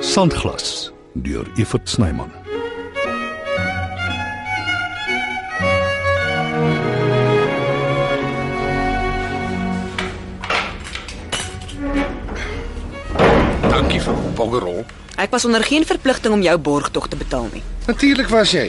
Sandglas deur Evert Snyman. Dankie vir Boggerol. Ek was onder geen verpligting om jou borgtog te betaal nie. Natuurlik was jy.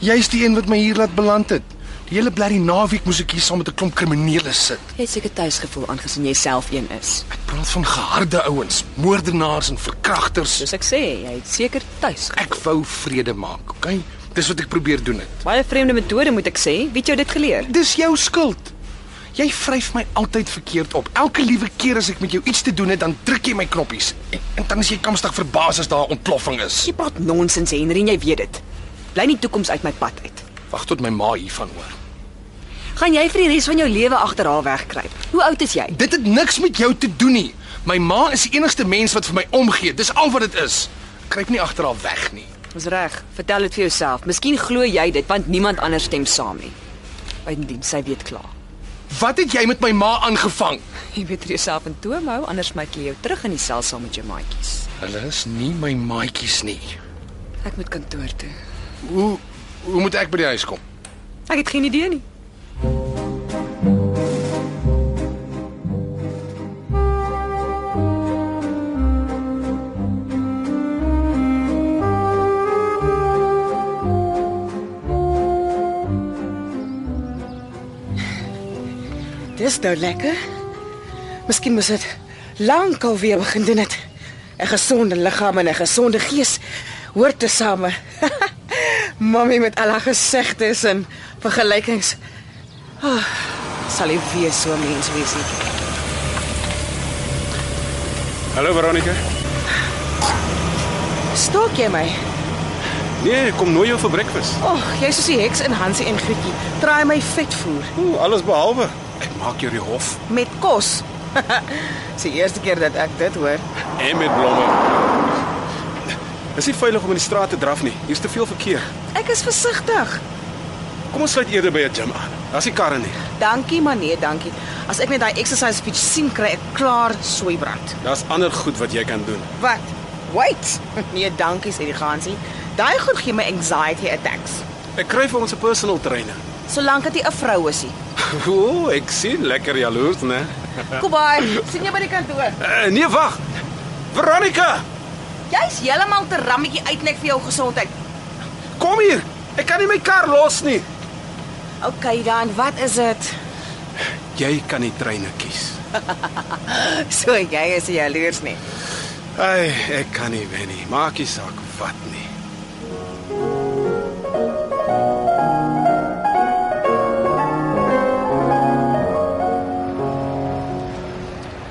Jy's die een wat my hier laat beland het. Die hele blerrie naweek moes ek hier saam met 'n klomp kriminele sit. Jy het seker tuisgevoel aangesien jy self een is. Ek praat van geharde ouens, moordenaars en verkragters. Soos ek sê, jy het seker tuis. ge- Ek wou vrede maak, okay? Dis wat ek probeer doen het. Baie vreemde metode moet ek sê. Wie het jou dit geleer? Dis jou skuld. Jy vryf my altyd verkeerd op. Elke liewe keer as ek met jou iets te doen het, dan druk jy my knoppies. En, en dan is jy kamstig verbaas as daar 'n ontploffing is. Jy praat nonsens, Henry, en jy weet dit. Bly nie toekoms uit my pad uit. Wag tot my ma hiervan hoor. Gaan jy vir die res van jou lewe agter haar wegkruip? Hoe oud is jy? Dit het niks met jou te doen nie. My ma is die enigste mens wat vir my omgee. Dis al wat dit is. Kryp nie agter haar weg nie. Dis reg. Vertel dit vir jouself. Miskien glo jy dit want niemand anders stem saam nie. Bydien, sy weet klaar. Wat het jy met my ma aangevang? Jy weet vir jouself in toom hou, anders maak jy jou terug in die sel saam met jou maatjies. Hulle is nie my maatjies nie. Ek moet kantoor toe. Hoe hoe moet ek by die huis kom? Ek het geen idee nie. Dis nou lekker. Miskien moes dit lankal weer begin doen het. 'n Gesonde liggaam en 'n gesonde gees hoort tesame. Mamy met al haar gesegdes en vergelykings. Oh, sal jy weer so 'n mens wees nie. Hallo Veronica. Stalk jy my? Nee, ek kom nooi jou vir breakfast. O, oh, jy's soos die heks in Hansie en Grietjie. Traai my vet voer Ooh, alles behalwe. Ek maak jou die hof met kos. Dis die eerste keer dat ek dit hoor. en met blomme. Dis nie veilig om in die straat te draf nie. Hier's te veel verkeer. Ek is versigtig. Kom ons sluit eerder by 'n gym aan. Daar's nie karre nie. Dankie, maar nee, dankie. As ek net daai exercise fiets sien kry ek klaar soeibrand. Daar's ander goed wat jy kan doen. Wat? Wait. Nee, dankie sê die gansie. Daai goed gee my anxiety attacks. Ek kry vir ons 'n personal trainer. Solank dit 'n vrou is. ie. Ooh, ek sien lekker jaloers, né? Goodbye. sien jou by die kantoor. Uh, nee, wag. Veronica, Jy's heeltemal te rammetjie uitnek vir jou gesondheid. kom hier. Ek kan nie my kar los nie. OK dan, wat is dit? Jy kan die trainer kies. So jy is nie jaloers nee. nie. Ai, ek kan nie wen nie. Maak nie saak wat nie.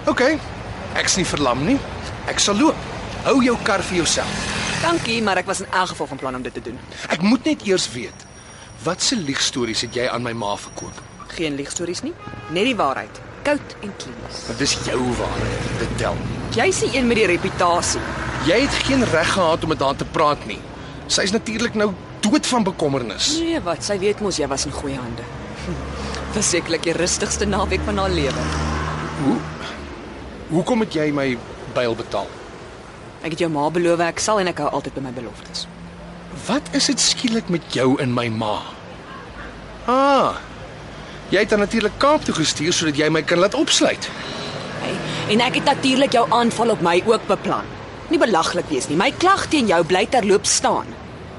OK. Ek's nie verlam nie. Ek sal loop. Hou jou kar vir jouself. Dankie, maar ek was in elk geval van plan om dit te doen. Ek moet net eers weet watse leegstories het jy aan my ma verkoop? Geen leegstories nie, net die waarheid, koud en klinies. Want dis jou waarheid. Dit tel. Jy's die een met die reputasie. Jy het geen reg gehad om met haar te praat nie. Sy's natuurlik nou dood van bekommernis. Nee, wat, sy weet mos jy was in goeie hande. Dis sekerlik die rustigste naweek van haar lewe. Hoekom het jy my byl betaal? Ek het jou ma beloof ek sal en ek hou altyd by my beloftes. Wat is dit skielik met jou en my ma? Ah. Jy het haar natuurlik Kaap toe gestuur sodat jy my kan laat opsluit. Hey, en ek het natuurlik jou aanval op my ook beplan. Nie belaglik wees nie. My klag teen jou bly terloop staan.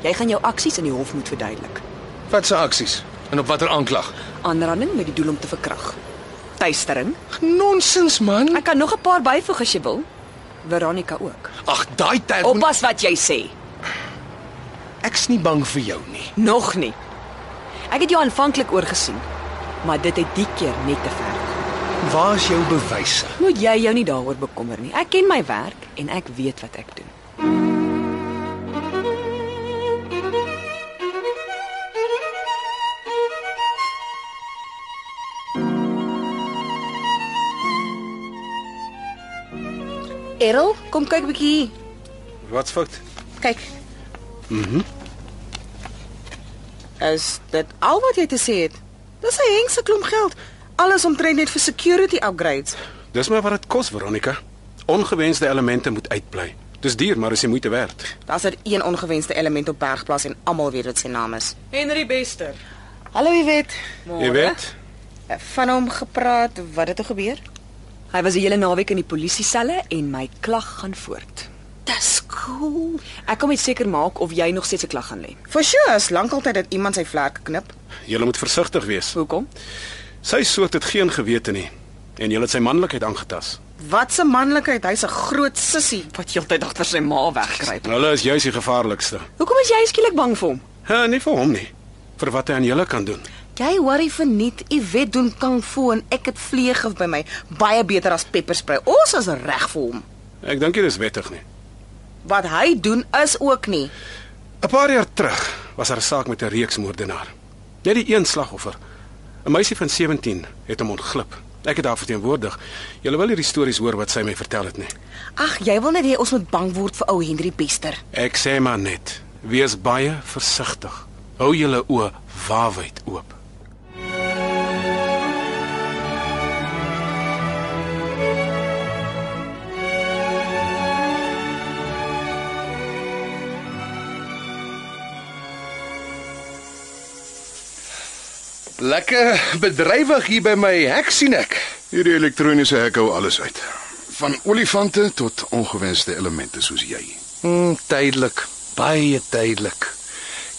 Jy gaan jou aksies in die hof moet verduidelik. Wat se aksies en op watter aanklag? Aanranding met die doel om te verkrag. Tuistering. Nonsens man. Ek kan nog 'n paar byvoeg as jy wil. Veronica ook. Ag, daai tyd. Oppas wat jy sê. Ek's nie bang vir jou nie. Nog nie. Ek het jou aanvanklik oorgesien, maar dit het die keer net te ver. gegaan. Waar is jou bewyse? Moet jy jou nie daaroor bekommer nie. Ek ken my werk en ek weet wat ek doen. Errol, kom kyk bietjie hier. Wat's fout? Kyk. Mhm. Mm is dit al wat jy te sê het? Dis 'n hengse klomp geld. Alles omtrent net vir security upgrades. Dis maar wat dit kos, Veronica. Ongewenste elemente moet uitbly. Dis duur, maar is die moeite werd. Daar's net een ongewenste element op Bergplaas en almal weet wat sy naam is. Henry Bester. Hallo, jy weet, Jy weet, van hom gepraat, wat het er gebeur? Hy was die hele naweek in die polisie selle en my klag gaan voort. Dis cool. Ek kom net seker maak of jy nog steeds 'n klag gaan lê. For sure, is lank altyd dat iemand sy vlerke knip. jy moet versigtig wees. Hoekom? Sy soort het geen gewete nie en jy het sy manlikheid aangetas. Wat 'n manlikheid, hy's 'n groot sissie. Wat heeltyd agter sy ma wegkruip. Hulle is juis die gevaarlikste. Hoekom is jy skielik bang vir hom? Ha, nie vir hom nie. Vir wat hy aan julle kan doen. Jy worry verniet. Jy weet doen kung fu en ek het vleeg of by my baie beter as pepperspray. Ons is reg vir hom. Ek dink dit is wettig nie. Wat hy doen is ook nie. 'n Paar jaar terug was daar 'n saak met 'n reeksmoordenaar. Net die een slagoffer. 'n Meisie van 17 het hom ontglip. Ek het haar verteenwoordig. Julle wil hierdie stories hoor wat sy my vertel het nie. Ag, jy wil net hê ons moet bang word vir ou Henry Bester. Ek sê maar net, wees baie versigtig. Hou julle oë waawyd oop. Lekker bedrywig hier by my hek sien ek. Hierdie elektroniese hek hou alles uit. Van olifante tot ongewenste elemente soos jy. Mm, tydelik, baie tydelik.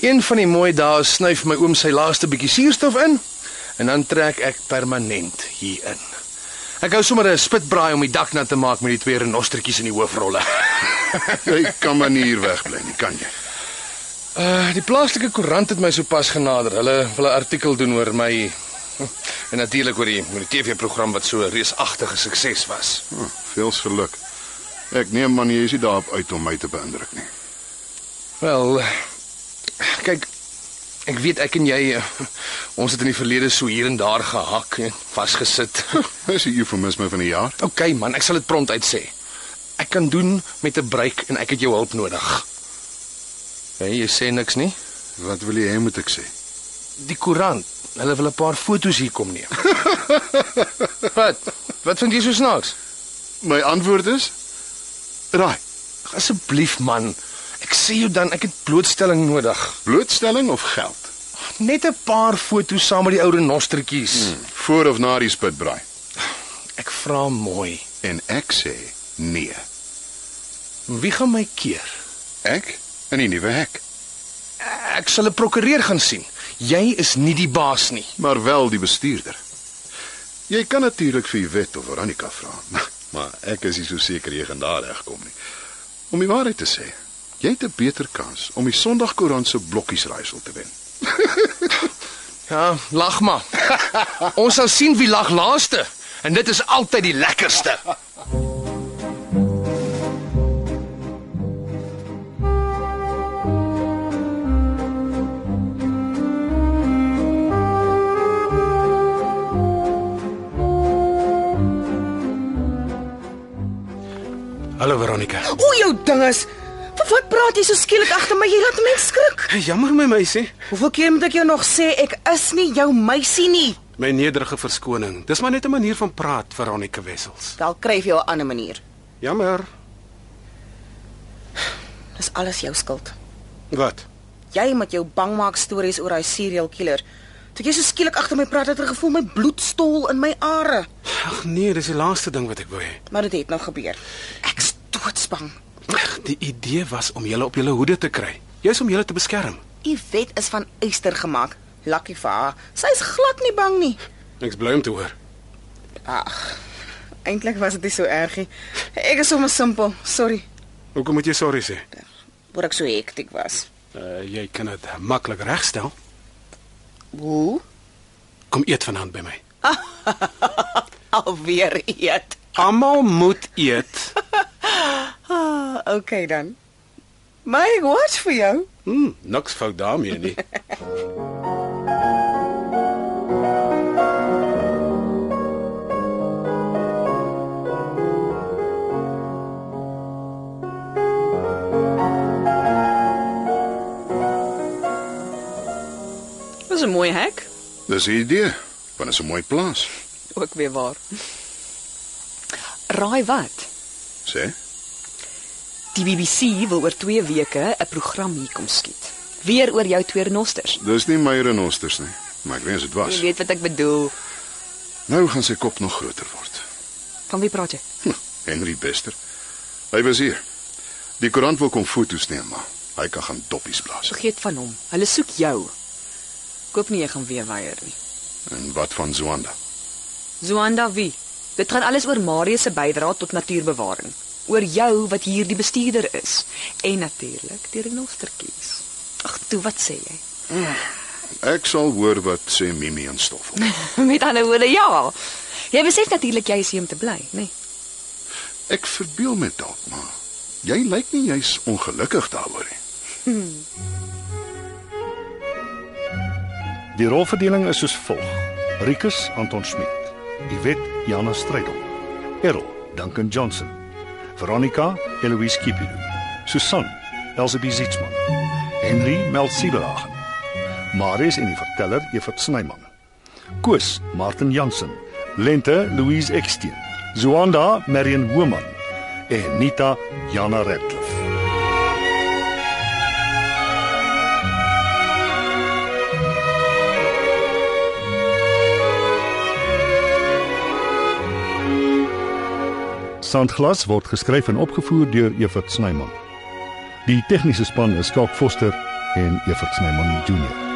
Een van die mooi dae snuif my oom sy laaste bietjie suurstof in en dan trek ek permanent hier in. Ek hou sommer 'n spitbraai om die dak nat te maak met die twee renostertjies in die hoofrolle. Jy kan maar nie hier wegbly nie, kan jy? Uh, die plaaslike koerant het my sopas genader. Hulle wil 'n artikel doen oor my en natuurlik oor die, oor die TV-program wat so 'n reusagtige sukses was. Hm, Veels geluk. Ek neem man jy is nie daarop uit om my te beïndruk nie. Wel, eh, kyk, ek weet ek en jy eh, ons het in die verlede so hier en daar gehak en vasgesit. Dis 'n eufemisme van die jaar. OK man, ek sal dit prompt uitsê. Ek kan doen met 'n breek en ek het jou hulp nodig. Hey, jy sê niks nie? Wat wil jy hê moet ek sê? Die koerant, hulle wil 'n paar foto's hier kom neem. wat? Wat vind jy so snaaks? My antwoord is raai. Asseblief man, ek sê jou dan ek het blootstelling nodig. Blootstelling of geld? Net 'n paar foto's saam met die ou renostertjies. Hmm. Voor of na die spitbraai? Ek vra mooi, En ek sê nee. wie gaan my keer? Ek in die nuwe hek, Ek sal 'n prokureur gaan sien. Jy is nie die baas nie. maar wel die bestuurder. Jy kan natuurlik vir Wet of Veronica vra, maar ek is nie so seker jy gaan daar regkom nie. Om die waarheid te sê, jy het 'n beter kans om die Sondagkoerant se blokkiesraaisel te wen. Ja, lag maar. Ons sal sien wie lag laaste en dit is altyd die lekkerste. Hallo Veronica. O, jou dinges. Vir wat praat jy so skielik agter my? Jy laat my skrik. Jammer my meisie. Hoeveel keer moet ek jou nog sê ek is nie jou meisie nie? My nederige verskoning. Dis maar net 'n manier van praat, Veronica Wessels. Wel kry jy 'n ander manier. Jammer. Dis alles jou skuld. Wat? Jy met jou bangmaak stories oor daai serial killer. Toe jy so skielik agter my praat het, het ek gevoel my bloed stol in my are. Ag nee, dis die laaste ding wat ek wou hê. Maar dit het nou gebeur. Ek's doodsbang. Ag, Die idee was om julle op julle hoede te kry. Jy's om julle te beskerm. Yvette is van yster gemaak. Lucky vir haar. Sy's glad nie bang nie. Ek's bly om te hoor. Ag. Eintlik was dit nie so erg nie. Ek is sommer simpel. Sorry Hoekom moet jy sorry sê? dat ek so hektiek was. Uh, jy kan dit maklik regstel. Hoe? Kom eet vanaand by my. Alweer eet. Almal moet eet. Ah, okay dan. My watch vir jou. Hm, niks fout daarmee nie. Dis 'n mooi hek, Dis 'n idee, want dit is 'n mooi plaas, ook weer waar. Raai wat? sê? Die BBC wil oor 2 weke 'n program hier kom skiet. Weer oor jou twee renosters. Dis nie my renosters nie, maar ek weet dit was. Jy weet wat ek bedoel. Nou gaan sy kop nog groter word. Van wie praat jy? Hm, Henry Bester. Hy was hier. Die koerant wil kom foto's neem, maar hy kan gaan doppies blaas. Vergeet van hom. Hulle soek jou. Koop nie jy gaan weer weier nie. En wat van Zwanda? Zoanda wie? Dit gaan alles oor Marius se bydrae tot natuurbewaring, oor jou wat hier die bestuurder is en natuurlik die renostertjies. Ag, toe wat sê jy? Ek sal hoor wat sê Mimi en Stoffel. Met ander woorde, ja. Jy besef natuurlik jy is hier om te bly, nê? Nee. Ek verbeel met dalk, maar jy lyk nie jy's ongelukkig daaroor nie. Die rolverdeling is soos volg: Rikus Anton Smit, Iwet Jana Strydom, Errol Duncan Johnson, Veronica Eloise Kipidu, Susan Elsabie Zietsman, Henry Meltsieberhagen, Marius en die verteller Evert Snyman, Koos Martin Jansen, Lente Louise Eksteen, Zuanda Marion Woman en Nita Jana Redcliffe. Sandglas word geskryf en opgevoer deur Evert Snyman. Die tegniese span is Skalk Foster en Evert Snyman Junior.